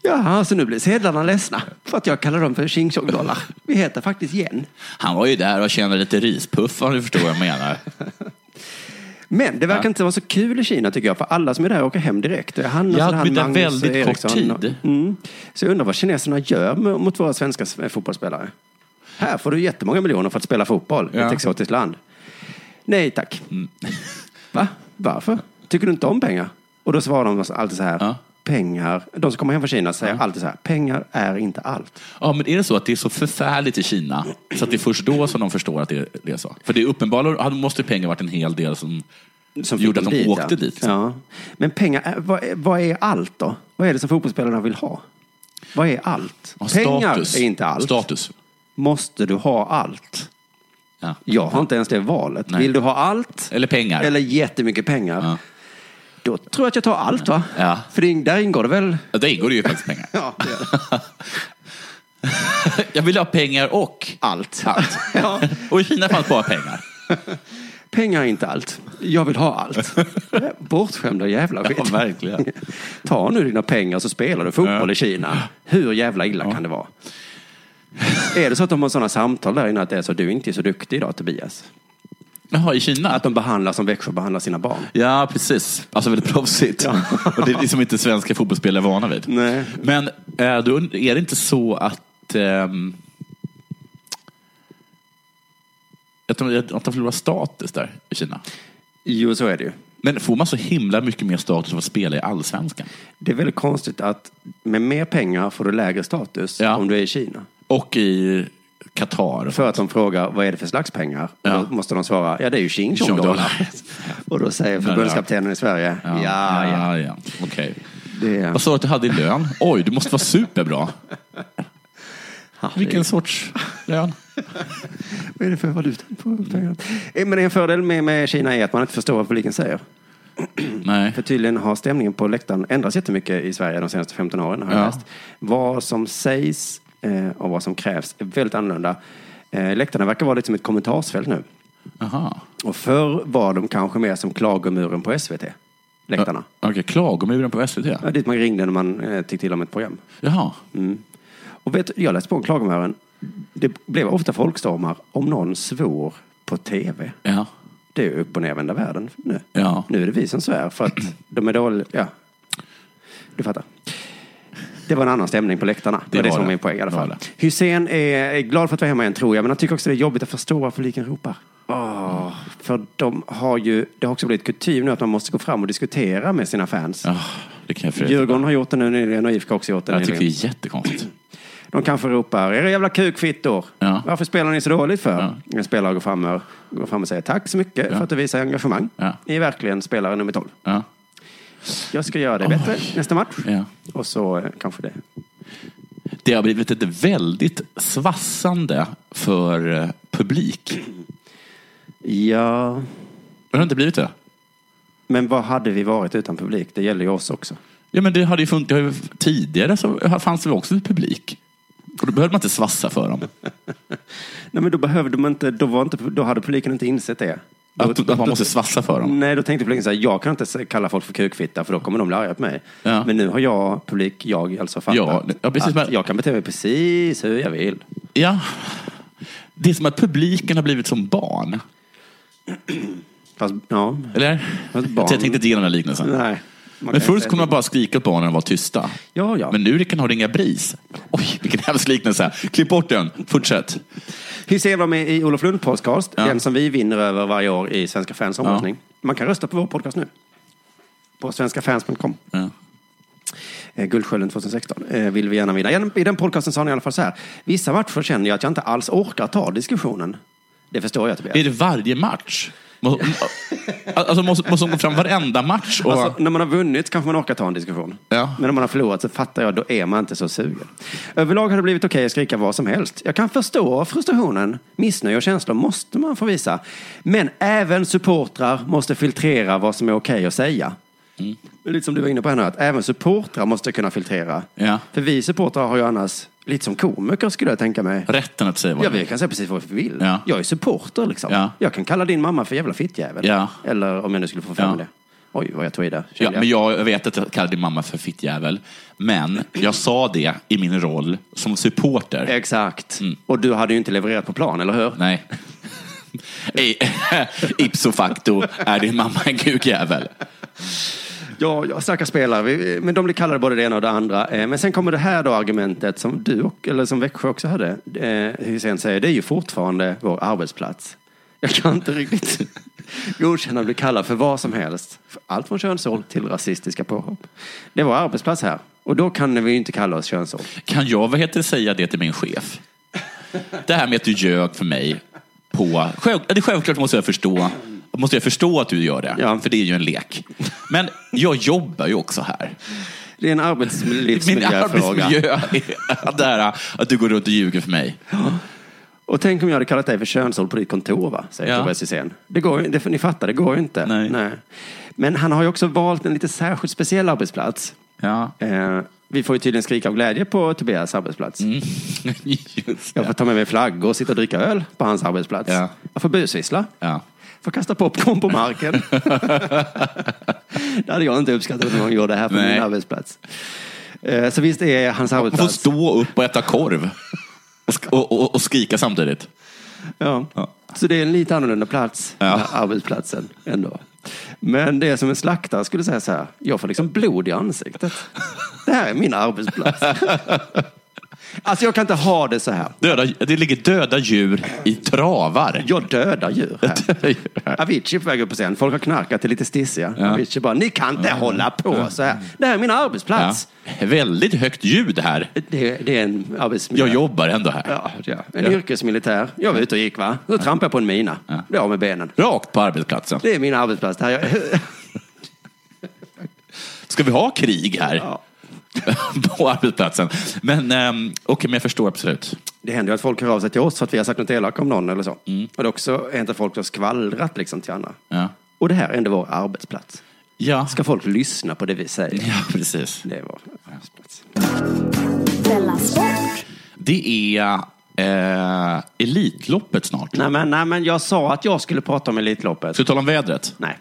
Jaha, så nu blir sedlarna ledsna för att jag kallar dem för ching chong dollar. Vi heter faktiskt yen. Han var ju där och tjänade lite rispuffar, om du förstår vad jag menar. Men det verkar inte vara så kul i Kina tycker jag, för alla som är där åker hem direkt. Det är Han, Ja, så det här men det är Magnus väldigt kort Eriksson. tid. Mm. Så jag undrar vad kineserna gör med- mot våra svenska s- fotbollsspelare. Här får du jättemånga miljoner för att spela fotboll i Ja. Mm. ett exotiskt land. Nej tack. Va? Varför? Tycker du inte om pengar? Och då svarar de alltid så här. Ja. Pengar. De som kommer hem från Kina säger alltid så här. Pengar är inte allt. Ja, men är det så att det är så förfärligt i Kina, så att det är först då som de förstår att det är, det är så? För det är uppenbarligen, hade- måste ju pengar varit en hel del som, Som fick gjorde att dem de dit, åkte ja. dit. liksom. Ja. Men pengar, är- vad är, vad är allt då? Vad är det som fotbollsspelarna vill ha? Vad är allt? Ja, pengar status. är inte allt. Status. Måste du ha allt? Ja. Jag har inte ens det valet. Nej. Vill du ha allt? Eller pengar. Eller jättemycket pengar? Ja. Då tror jag att jag tar allt va? Ja. För det, där ingår det väl? Ja, där ingår det ju faktiskt pengar. Ja, det gör det. Jag vill ha pengar och allt. allt. Ja. <laughs> Och i Kina fanns bara pengar. Pengar är inte allt. Jag vill ha <laughs> allt. Bortskämda jävla skit. Ja, verkligen. <laughs> Ta nu dina pengar så spelar du fotboll i Kina. Hur jävla illa kan det vara? Är det så att de har sådana samtal där inne att det är så du är inte är så duktig idag Tobias? Jaha, i Kina? Att de behandlar som Växjö behandlar sina barn. Ja, precis. Alltså väldigt proffsigt. Och det är liksom inte svenska fotbollsspelare vana vid. Nej. Men eh, då und- är det inte så att... ehm, att de, att de förlorar status där i Kina. Jo, så är det ju. Men får man så himla mycket mer status av att spela i Allsvenskan? Det är väldigt konstigt att med mer pengar får du lägre status om du är i Kina. Och i Qatar. För att de frågar vad är det för slags pengar? Ja. Och Då måste de svara, ja det är ju Xing Chong dollar. Tjongdollar. <laughs> Och då säger förbundskaptenen i Sverige, ja, ja. ja. ja. Okej. Det är... Vad sa du att du hade i lön? Oj, du måste vara superbra. Vilken sorts lön? Vad är det för valuta på pengarna? Eh, Men en fördel med, med Kina är att man inte förstår vad publiken säger. Nej. För tydligen har stämningen på läktaren ändrats jättemycket i Sverige de senaste 15 åren. Har jag Ja. läst. Vad som sägs eh, och vad som krävs är väldigt annorlunda. Eh, Läktarna verkar vara lite som ett kommentarsfält nu. Aha. Och förr var de kanske mer som klagomuren på SVT. Läktarna. Okej, klagomuren på SVT. Ja. Dit man ringde när man eh, tyckte till om ett program. Jaha. Mm. Och vet, du, jag läste på om klagomuren. Det blev ofta folkstormar om någon svor på tv. Ja. Det är ju upp och nervända världen nu. Ja. Nu är det vi som svär för att de är dåliga. Ja. Du fattar. Det var en annan stämning på läktarna. Det, Det var det var som var det. min poäng i alla Det var fall. Hussein är är glad för att vara hemma igen tror jag, men han tycker också det är jobbigt att förstå vad publiken ropar. Åh, för de har ju, det har också blivit kutym nu att man måste gå fram och diskutera med sina fans. Ah, det kan jag förresten. Djurgården har gjort det nu nyligen och IFK har också gjort det Jag tycker det nyligen. är jättekonstigt. De kanske ropar, era jävla kukfittor, Ja. varför spelar ni så dåligt för? En spelare går fram, och, går fram och säger tack så mycket för att du visar engagemang. Ja. Ni är verkligen spelare nummer 12. Ja. Jag ska göra det bättre nästa match. Ja. Och så eh, kanske det. Det har blivit ett väldigt svassande för eh, publik. Ja, Har det inte blivit det? men vad hade vi varit utan publik? Det gäller ju oss också. Ja, men det hade ju funkat. det har ju- Tidigare så fanns det väl också publik. Och då behövde man inte svassa för dem. Nej, men då behövde man inte, då, var inte, då hade publiken inte insett det. Då- Mm. Att, att man måste svassa för dem. Nej, då tänkte publiken så här, jag kan inte se- kalla folk för kukfitta för då kommer de bli arga på mig. Ja. Men nu har jag, publik, jag alltså fattat Ja, ja, precis, att men- jag kan bete mig precis hur jag vill. Ja. Det är som att publiken har blivit som barn. Fast, ja. Eller? Fast barn- Jag tänkte inte ge den här liknelsen. Nej. man Men kan förr inte- så kunde man bara skrika åt barnen och vara tysta. Ja, ja. Men nu kan ha ringa BRIS. Oj, vilken hemsk liknelse. Klipp bort den. Fortsätt. Hussein var med i Olof Lund podcast, Ja. den som vi vinner över varje år i Svenska fans omröstning. Man kan rösta på vår podcast nu. På svenskafans.com. Ja. Eh, Guldskölden 2016 eh, vill vi gärna vinna. Genom- I den podcasten sa ni i alla fall så här. Vissa matcher känner jag att jag inte alls orkar ta diskussionen. Det förstår jag Tobias. Är det varje match? Må- Alltså måste, måste de gå fram varenda match? Och... Alltså, när man har vunnit kanske man orkar ta en diskussion. Ja. Men om man har förlorat så fattar jag, då är man inte så sugen. Överlag har det blivit okej att skrika vad som helst. Jag kan förstå frustrationen. Missnöje och känslor måste man få visa. Men även supportrar måste filtrera vad som är okej att säga. Det är Lite som du var inne på här nu, att även supportrar måste kunna filtrera. Ja. För vi supportrar har ju annars, lite som komiker skulle jag tänka mig. Rätten att säga vad Ja, man vi kan säga precis vad vi vill. Ja. Jag är supporter liksom. Ja. Jag kan kalla din mamma för jävla fittjävel. Ja. Eller om jag nu skulle få fram Ja. det. Oj, vad jag tog i där. Ja, men jag vet att jag kallar din mamma för fittjävel. Men jag sa det i min roll som supporter. Exakt. Och du hade ju inte levererat på plan, eller hur? Mm. Nej. <laughs> I- <laughs> Ipso facto är din mamma en kukjävel. Ja, ja stackars spelare. Vi, men de blir kallade både det ena och det andra. Eh, Men sen kommer det här då argumentet som du och, eller som Växjö också hade. Eh, Hussein säger, det är ju fortfarande vår arbetsplats. Jag kan inte riktigt <laughs> godkänna att bli kallad för vad som helst. För Allt från könsord till rasistiska påhopp. Det är vår arbetsplats här. Och då kan vi ju inte kalla oss könsord. Kan jag vad heter, det, säga det till min chef? Det här med att du ljög för mig på... Själv, det är självklart måste jag förstå måste jag förstå att du gör det, Ja. för det är ju en lek. Men jag jobbar ju också här. Det är en Min arbetslivsmiljöfråga. arbetsmiljö är det här att du går runt och ljuger för mig. Och tänk om jag hade kallat dig för könsord på ditt kontor, va? säger Ja. Tobias Hysén. Det går ju, det, ni fattar, det går ju inte. Nej. Men han har ju också valt en lite särskilt speciell arbetsplats. Ja. Eh, Vi får ju tydligen skrika av glädje på Tobias arbetsplats. Mm, jag får ta med mig flaggor och sitta och dricka öl på hans arbetsplats. Jag får busvissla. Får kasta popcorn på <laughs> marken. det hade jag inte uppskattat om någon gjorde här på Nej. min arbetsplats. Eh, Så visst är hans Man får arbetsplats... stå upp och äta korv. Och, sk- och, och, och skrika samtidigt. Ja. Så det är en lite annorlunda plats, den här arbetsplatsen ändå. Men det är som en slaktare skulle säga så här, jag får liksom blod i ansiktet. Det här är min <laughs> arbetsplats. Alltså jag kan inte ha det så här. Döda, det ligger döda djur i travar. <laughs> Jag dödar djur här. Avicii är på väg upp på scen. Folk har knarkat till lite stissiga. Avicii bara, ni kan inte hålla på så här. Det här är min arbetsplats. Väldigt högt ljud här. Det, det är en arbetsmiljö. Jag jobbar ändå här. Ja, ja. En Ja. yrkesmilitär. Jag var ute och gick va. Då trampade jag på en mina. Blev av med benen. Rakt på arbetsplatsen. Det är min arbetsplats. Det här <laughs> jag... Ska vi ha krig här? <laughs> på arbetsplatsen. Men um, okej, men jag förstår absolut. Det händer ju att folk hör av sig till oss för att vi har sagt något elakt om någon eller så. Mm. Och det är också hänt att folk har skvallrat liksom till andra. Ja. Och det här är ändå vår arbetsplats. Ja. Ska folk lyssna på det vi säger? Ja, precis. Det är vår arbetsplats. Della Sport. Det är eh, Elitloppet snart. Nej men, nej, men jag sa att jag skulle prata om Elitloppet. Ska vi tala om vädret? <laughs> Nej.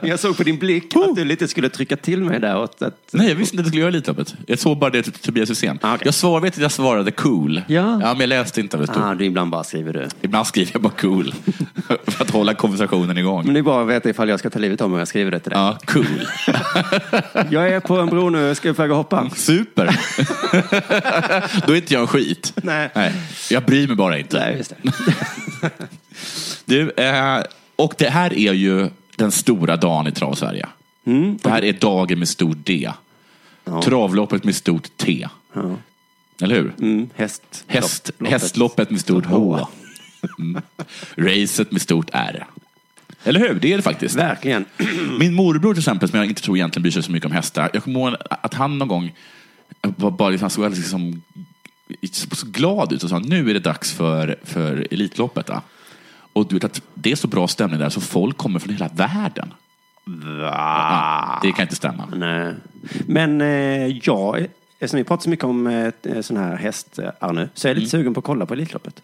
Men jag såg på din blick att du lite skulle trycka till mig där. åt att... Nej, jag visste inte att jag skulle göra Elitloppet. Jag såg bara det till Tobias Hysén. Ah, okej. Jag svar, vet att jag svarade cool. Ja. men jag läste inte vad det stod. Ah, du ibland bara skriver du. Ibland skriver jag bara cool. <laughs> för att hålla konversationen igång. Men det är bara att veta ifall jag ska ta livet av mig om jag skriver det till dig. Ja, cool. Jag är på en bro nu, jag ska försöka Mm. hoppa. Super. <laughs> Då är inte jag en skit. Nej. Jag bryr mig bara inte. Nej, just det. Mm. Du, eh, och det här är ju den stora dagen i Travsverige. Mm. Det här är dagen med stor D. Travloppet med stort T. Eller hur? Mm, häst. Häst, Loppet. hästloppet med stort H. Mm. Racet med stort R. Eller hur? Det är det faktiskt. Verkligen. Min morbror till exempel, som jag inte tror egentligen bryr sig så mycket om hästar. Jag kommer ihåg att han någon gång var bara liksom, han såg alldeles liksom, så glad ut och sa nu är det dags för, för Elitloppet. Va? Och du vet att det är så bra stämning där så folk kommer från hela världen. Ja, det kan inte stämma. Nej. Men eh, jag, eftersom vi pratar så mycket om eh, sån här häst, eh, Arne, så är jag lite sugen på att kolla på Elitloppet.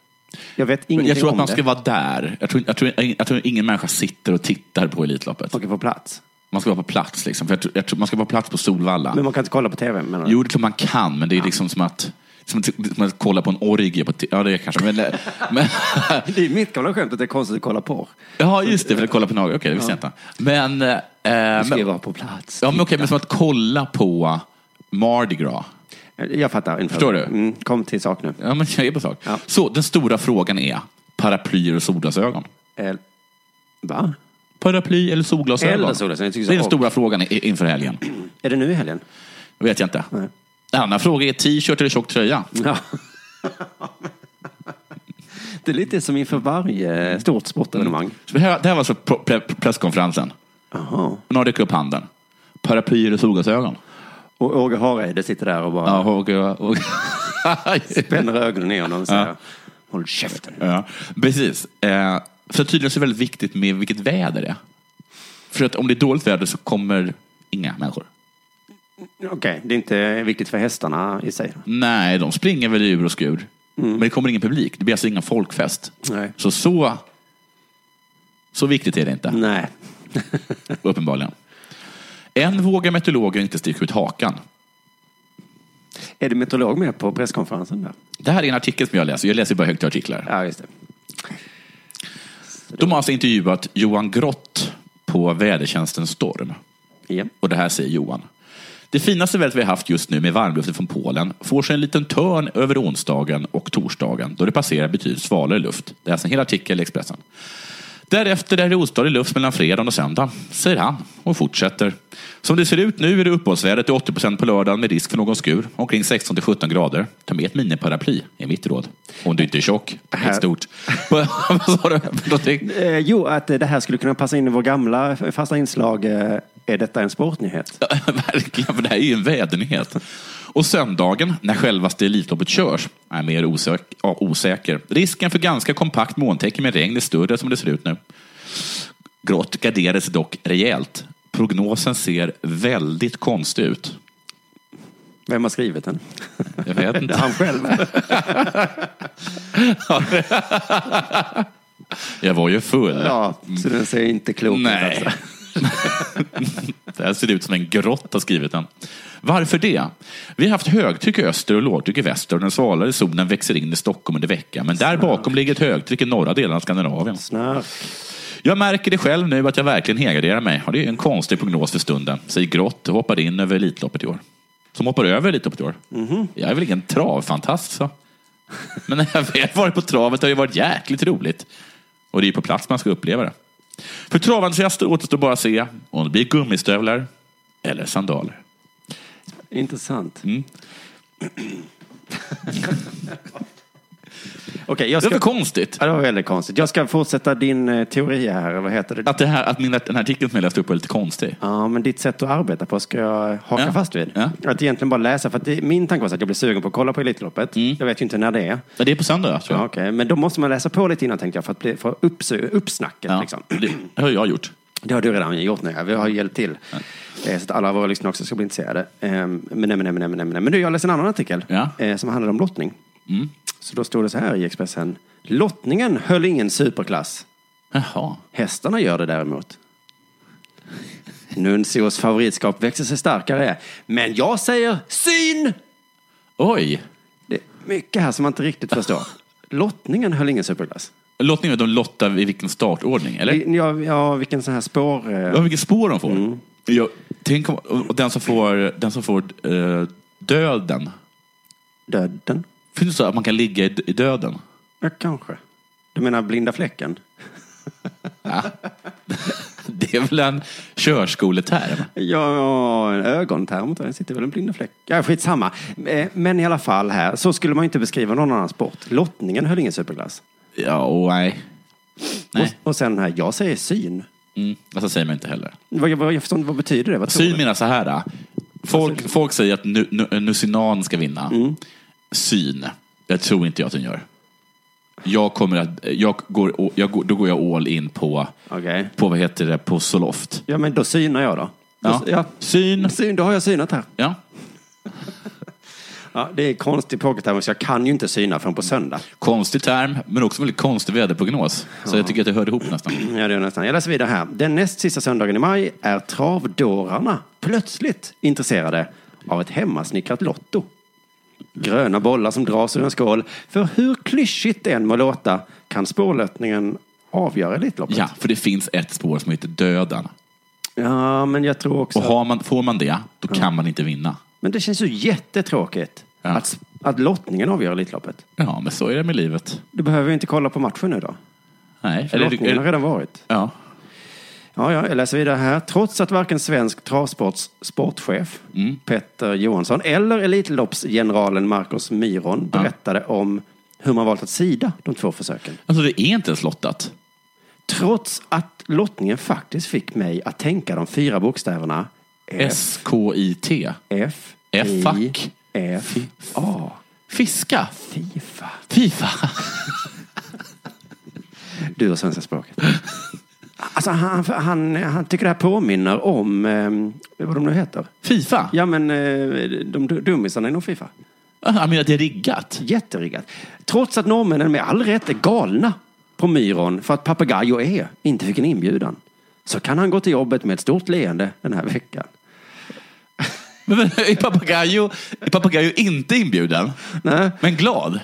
Jag vet ingenting Mm. Jag tror att om man ska det. vara där. Jag tror, jag, tror, jag tror ingen människa sitter och tittar på Elitloppet. Åka på plats. Man ska vara på plats. Liksom. För jag tror, jag tror, man ska vara på plats på Solvalla. Men man kan inte kolla på tv? Menar du? Jo, det är klart man kan, men det är liksom som att, som att, som att kolla på en orgie på t- Ja, det är kanske. Men, <laughs> men, Det är mitt gamla skämt att det är konstigt att kolla på. ja, just det, för att kolla på en orgie. Okej, det visste jag inte. Men, eh, Du ska ju men, vara på plats. ja, men, okej, men som att kolla på Mardi Gras. Jag fattar. ungefär. Förstår du? Mm, kom till sak nu. Ja, men jag är på sak. Ja. Så den stora frågan är paraplyer och solglasögon. Eh, va? Paraply eller solglasögon? Eller solglasögon, jag tycker så. det är den stora frågan i- inför helgen. Är det nu i helgen? Det vet jag inte. Nej. En annan fråga är t-shirt eller tjock tröja. Ja. <laughs> det är lite som inför varje stort sportevenemang. Så Det här, det här var så pro- pre- presskonferensen. Jaha. Några räcker upp handen. Paraplyer och solglasögon. Och Åge Hareide sitter där och bara Ja, och, och, spänner ögonen i honom och säger Håll käften. ja, precis. Eh, för tydligen så är det väldigt viktigt med vilket väder det är. För att om det är dåligt väder så kommer inga människor. Okej, det är inte viktigt för hästarna i sig. Nej, de springer väl i ur och skur. Men det kommer ingen publik. Det blir alltså ingen folkfest. Mm. Nej. Så så, så viktigt är det inte, Nej. uppenbarligen. En vågar meteorologer inte sticka ut hakan. Är det meteorolog med på presskonferensen där? Det här är en artikel som jag läser. Jag läser bara högt ur artiklar. Ja, just det. De har alltså intervjuat Johan Grott på vädertjänsten Storm. Ja. Och det här säger Johan. Det finaste vädret vi har haft just nu med varmluften från Polen får sig en liten törn över onsdagen och torsdagen då det passerar betydligt svalare luft. Det är alltså en hel artikel i Expressen. Därefter är det ostadig luft mellan fredagen och söndagen, säger han och fortsätter. Som det ser ut nu är det uppehållsväder till 80 på lördagen med risk för någon skur, omkring 16-17 grader. Ta med ett miniparaply, är mitt råd. Om du inte är tjock, det är stort. <laughs> Vad sa du? för någonting? Eh, jo, att eh, det här skulle kunna passa in i vår gamla fasta inslag. Eh, är detta en sportnyhet? Ja, <laughs> Verkligen, för det här är ju en vädernyhet. Och söndagen, när självaste Elitloppet körs, är mer osök, ja, osäker. Risken för ganska kompakt molntäcke med regn är större som det ser ut nu. Grått garderades dock rejält. prognosen ser väldigt konstig ut. Vem har skrivit den? Jag <laughs> vet inte. Han själv. Jag var ju full. Ja, så den ser inte klok ut. Nej. alltså. <laughs> det här ser ut som en grott har skrivit den. Varför det? Vi har haft högtryck i öster och lågtryck i väster och den svalare solen växer in i Stockholm under veckan. Men där bakom ligger ett högtryck i norra delen av Skandinavien. Snark. Jag märker det själv nu att jag verkligen helgarderar mig. Ja, det är en konstig prognos för stunden. Säger Grott och hoppade in över Elitloppet i år. Som hoppar över Elitloppet i år. Jag är väl ingen travfantast så. Men när jag väl varit på travet har det varit jäkligt roligt. Och det är ju på plats man ska uppleva det. För traventusiaster återstår bara att se om det blir gummistövlar eller sandaler. Intressant. Mm. Okej, jag Det ska... är för konstigt. Ja, det var väldigt konstigt. Jag ska fortsätta din eh, teori här, eller vad heter det? Att, det här, att min, den här artikeln som jag läste upp var lite konstig. Ja, men ditt sätt att arbeta på ska jag haka Ja. fast vid. Ja. Att egentligen bara läsa, för att det, min tanke var så att jag blev sugen på att kolla på Elitloppet. Jag vet ju inte när det är. Ja, Det är på söndag tror Ja, jag. okej. Men då måste man läsa på lite innan tänkte jag, för att bli, för upps, uppsnacket. Ja, Liksom. det har jag gjort. Det har du redan gjort nu, ja. vi har hjälpt till. Eh, Så att alla våra lyssnare också ska bli intresserade. Eh, Men nej, men nej, men nej, men nej. Men du, jag läste en annan artikel Ja. Mm. eh, som handlade om lottning. Så då stod det så här i Expressen. Lottningen höll ingen superklass. Jaha. Hästarna gör det däremot. Nunzios favoritskap växer sig starkare. Men jag säger syn! Oj! Det är mycket här som man inte riktigt förstår. <laughs> Lottningen höll ingen superklass. Lottning är att de lottar i vilken startordning, eller? Vi- Ja, ja vilken sån här spår... eh, Ja, vilket spår de får. Jag, tänk om, och den som får, den som får eh, döden. Döden? Finns det så att man kan ligga i, i döden? <laughs> Ja, kanske. Du menar blinda fläcken? Det är väl en körskoleterm? Ja, en ögonterm. tror jag. Det sitter väl en blinda fläck. Ja, skitsamma. Eh, Men i alla fall här, så skulle man ju inte beskriva någon annan sport. Lottningen höll ingen superklass. Ja, och nej. Nej, Och, och sen här, jag säger syn. mm, alltså säger man inte heller. Vad, vad, jag förstår inte, vad betyder det? Vad tror Syn du? menar så här. äh, Folk, folk säger att nu, nu, Nusinan ska vinna. Syn. Jag tror inte jag att den gör. Jag kommer att, jag går, jag går, då går jag all in på, Okej. på vad heter det, på Zoloft. Ja, men då synar jag då. Ja. Då, ja. Syn. Syn, då har jag synat här. Ja. Ja, det är konstig pokerterm, så jag kan ju inte syna förrän på söndag. Konstig term, men också väldigt konstig väderprognos. Så jag tycker att det hörde ihop nästan. Ja, det är nästan. Jag läser vidare här. Den näst sista söndagen i maj är travdårarna plötsligt intresserade av ett hemmasnickrat lotto. Gröna bollar som dras ur en skål. För hur klyschigt det än må låta kan spårlöpningen avgöra Elitloppet. Ja, för det finns ett spår som heter döden. ja, men jag tror också... Och har man, får man det, då kan man inte vinna. Men det känns ju jättetråkigt Ja. att, att lottningen avgör Elitloppet. Ja, men så är det med livet. Du behöver ju inte kolla på matchen nu då. Nej. För lottningen har redan varit. ja. Ja, ja, jag läser vidare här. Trots att varken svensk travsports sportchef Mm. Petter Johansson eller Elitloppsgeneralen Marcus Myron berättade om hur man valt att sida de två försöken. Alltså det är inte ens lottat. Trots att lottningen faktiskt fick mig att tänka de fyra bokstäverna F, S-K-I-T. F, F, I, fuck. F, A, Fiska. Fifa. Fifa. <laughs> Du och svenska <laughs> språket. Alltså, han, han, han tycker det här påminner om, eh, vad de nu heter. Fifa? Ja, men eh, de dummisarna inom Fifa. Jag menar, det är riggat. Jätteriggat. Trots att norrmännen med all rätt är galna på myron för att Papagayo E inte fick en inbjudan. Så kan han gå till jobbet med ett stort leende den här veckan. Men, men, är Papagayo är Papagayo inte inbjuden? Nej. Men glad?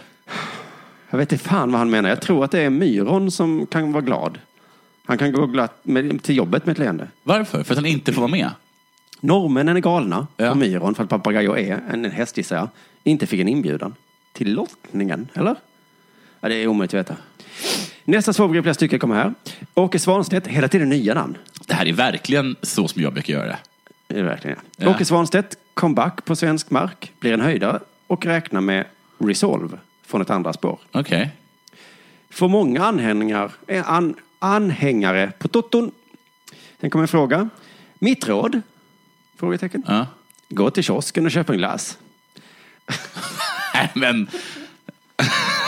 Jag vet inte fan vad han menar. Jag tror att det är myron som kan vara glad. Han kan gå glatt med, till jobbet med ett leende. Varför? För att han inte får vara med? Norrmännen är galna Ja. på myron för att Papagayo E, en en häst gissar jag, inte fick en inbjudan. Till lottningen, eller? Ja, det är omöjligt att veta. Nästa svårbegripliga stycke kommer här. Åke Svanstedt, hela tiden nya namn. Det här är verkligen så som jag brukar göra det. Det är det verkligen. Ja. Ja. Åke Svanstedt, comeback på svensk mark, blir en höjdare och räknar med Resolve från ett andra spår. Okej. För många anhängare, eh, an, anhängare på Toton. Sen kommer en fråga. Mitt råd? Frågetecken. Ja. Gå till kiosken och köp en glass. Nej, men...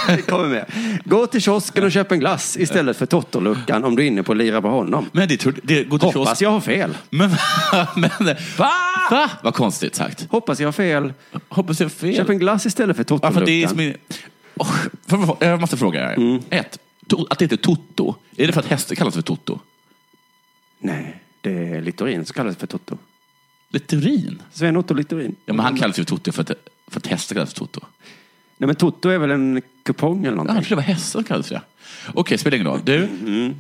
det kommer med. Gå till kiosken och köp en glass istället för Totto-luckan om du är inne på att lira på honom. Men det, tror- det går till Hoppas kiosk- jag har fel. Men, <laughs> men, va? va? Vad konstigt sagt. Hoppas jag har fel. Hoppas jag har fel. Köp en glass istället för Ja, för det är som, Totto-luckan. i- Åh, för- jag måste fråga er. Mm. Ett, to, att det heter Toto. Är det för att hästar kallas för Toto? Nej, det är Littorin som kallas för Totto. Littorin? Sven-Otto Littorin. Ja, men han kallas ju för Toto för att, för att hästar kallas för Toto. Nej, men Toto är väl en kupong eller Jag någonting? trodde det var hästar som kallades för det. Okej, spelar ingen roll. Du, Mm.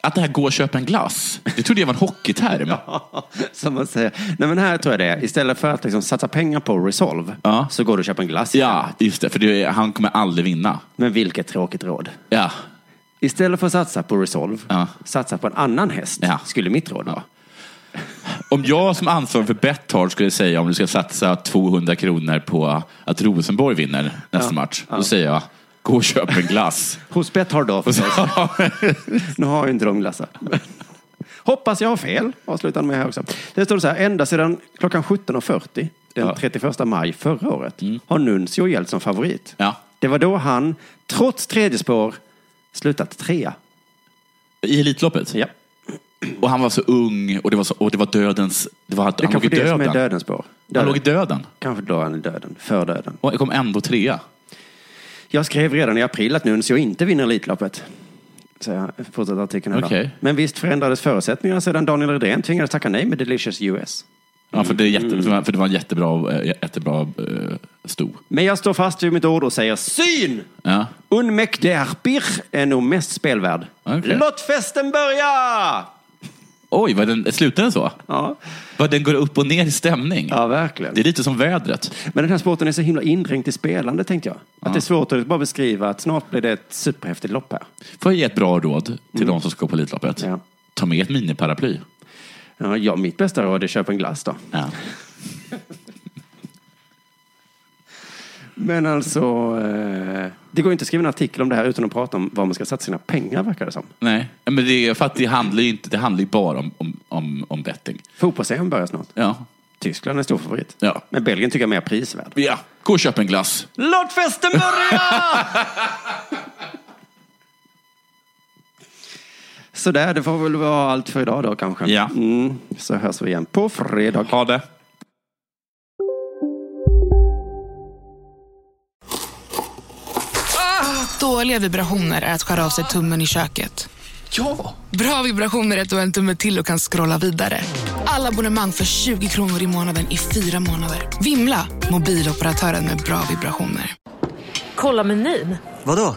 att det här gå och köpa en glass, det trodde jag var en hockeyterm. <laughs> Som man säger. Nej, men här tror jag det är. Istället för att liksom satsa pengar på Resolve Ja. så går du och köper en glass. Ja, just det. För det, är- han kommer aldrig vinna. Men vilket tråkigt råd. Ja. Istället för att satsa på Resolve, Ja. satsa på en annan häst, Ja. skulle mitt råd vara. Om jag som ansvarig för Betthard skulle säga om du ska satsa 200 kronor på att Rosenborg vinner nästa match, då säger jag gå och köp en <laughs> glass. Hos Betthard då Och <laughs> så, förstås. Nu har ju inte de glassar. <laughs> Hoppas jag har fel, avslutar han med här också. Det står så här, ända sedan klockan 17.40 den Ja. 31 maj förra året har Nuncio gällt som favorit. ja. Det var då han, trots tredje spår, slutat trea. I Elitloppet? Ja. Och han var så ung och det var, så, och det var dödens... Det var, Mm. Det är han låg kanske i det som döden. är dödens spår. Han låg i Döden. döden. Kanske då han är döden, för döden. Och kom ändå trea. Jag skrev redan i april att Nuncio inte vinner Elitloppet. Så jag fortsätter artikeln här. då. Okej. Men visst förändrades förutsättningarna sedan Daniel Redén tvingades tacka nej med Delicious US. Ja, för, det är jätte, Mm. för- för det var en jättebra, eh, jättebra eh, sto. Men jag står fast vid mitt ord och säger syn! Ja. Unmäk Derbir är nog mest spelvärd. Okej. Låt festen börja! Oj, var den, slutade den så? Ja, Vad den går upp och ner i stämning. ja verkligen. Det är lite som vädret. Men den här sporten är så himla inringt i spelande, tänkte jag. Att det är svårt att bara beskriva att snart blir det ett superhäftigt lopp här. Får jag ge ett bra råd till de som ska gå på Elitloppet? Ja. Ta med ett miniparaply. Ja, ja, mitt bästa råd är köp en glass då. Ja. Men alltså, eh, det går ju inte att skriva en artikel om det här utan att prata om var man ska satsa sina pengar, verkar det som. Nej, men det, är för att det handlar ju inte, det handlar ju bara om, om, om, om betting. fotbolls börjar snart. Ja. Tyskland är stor favorit. Ja. Men Belgien tycker jag är mer prisvärd. ja, gå och köp en glass. Låt festen börja! <laughs> Sådär, det får väl vara allt för idag då kanske. Ja. Mm, så hörs vi igen på fredag. Ha det. Dåliga vibrationer är att skära av sig tummen i köket. Ja! Bra vibrationer är att du har en tumme till och kan scrolla vidare. Alla abonnemang för 20 kronor i månaden i fyra månader. Vimla! Mobiloperatören med bra vibrationer. Kolla menyn. Vadå?